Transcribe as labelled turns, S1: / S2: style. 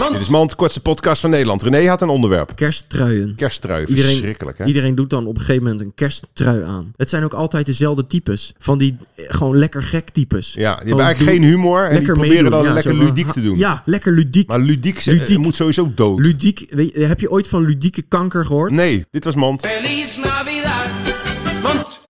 S1: Mand.
S2: Dit is Mand, kortste podcast van Nederland. René had een onderwerp.
S1: Kersttruien.
S2: Kersttrui,
S1: Iedereen,
S2: verschrikkelijk hè?
S1: iedereen doet dan op een gegeven moment een kersttrui aan. Het zijn ook altijd dezelfde types. Van die eh, gewoon lekker gek
S2: ja,
S1: types.
S2: die
S1: Gewoon
S2: hebben eigenlijk
S1: doen-
S2: geen humor en die
S1: lekker
S2: proberen
S1: meedoen.
S2: dan
S1: Ja,
S2: lekker
S1: zo van,
S2: ludiek
S1: ha-
S2: te doen.
S1: Ja, lekker ludiek.
S2: Maar ludiek, ze- eh,
S1: Ludiek.
S2: moet sowieso dood.
S1: ludiek weet je, heb je ooit van ludieke kanker gehoord?
S2: Nee, dit was Mand.
S3: Feliz Navidad. Mont.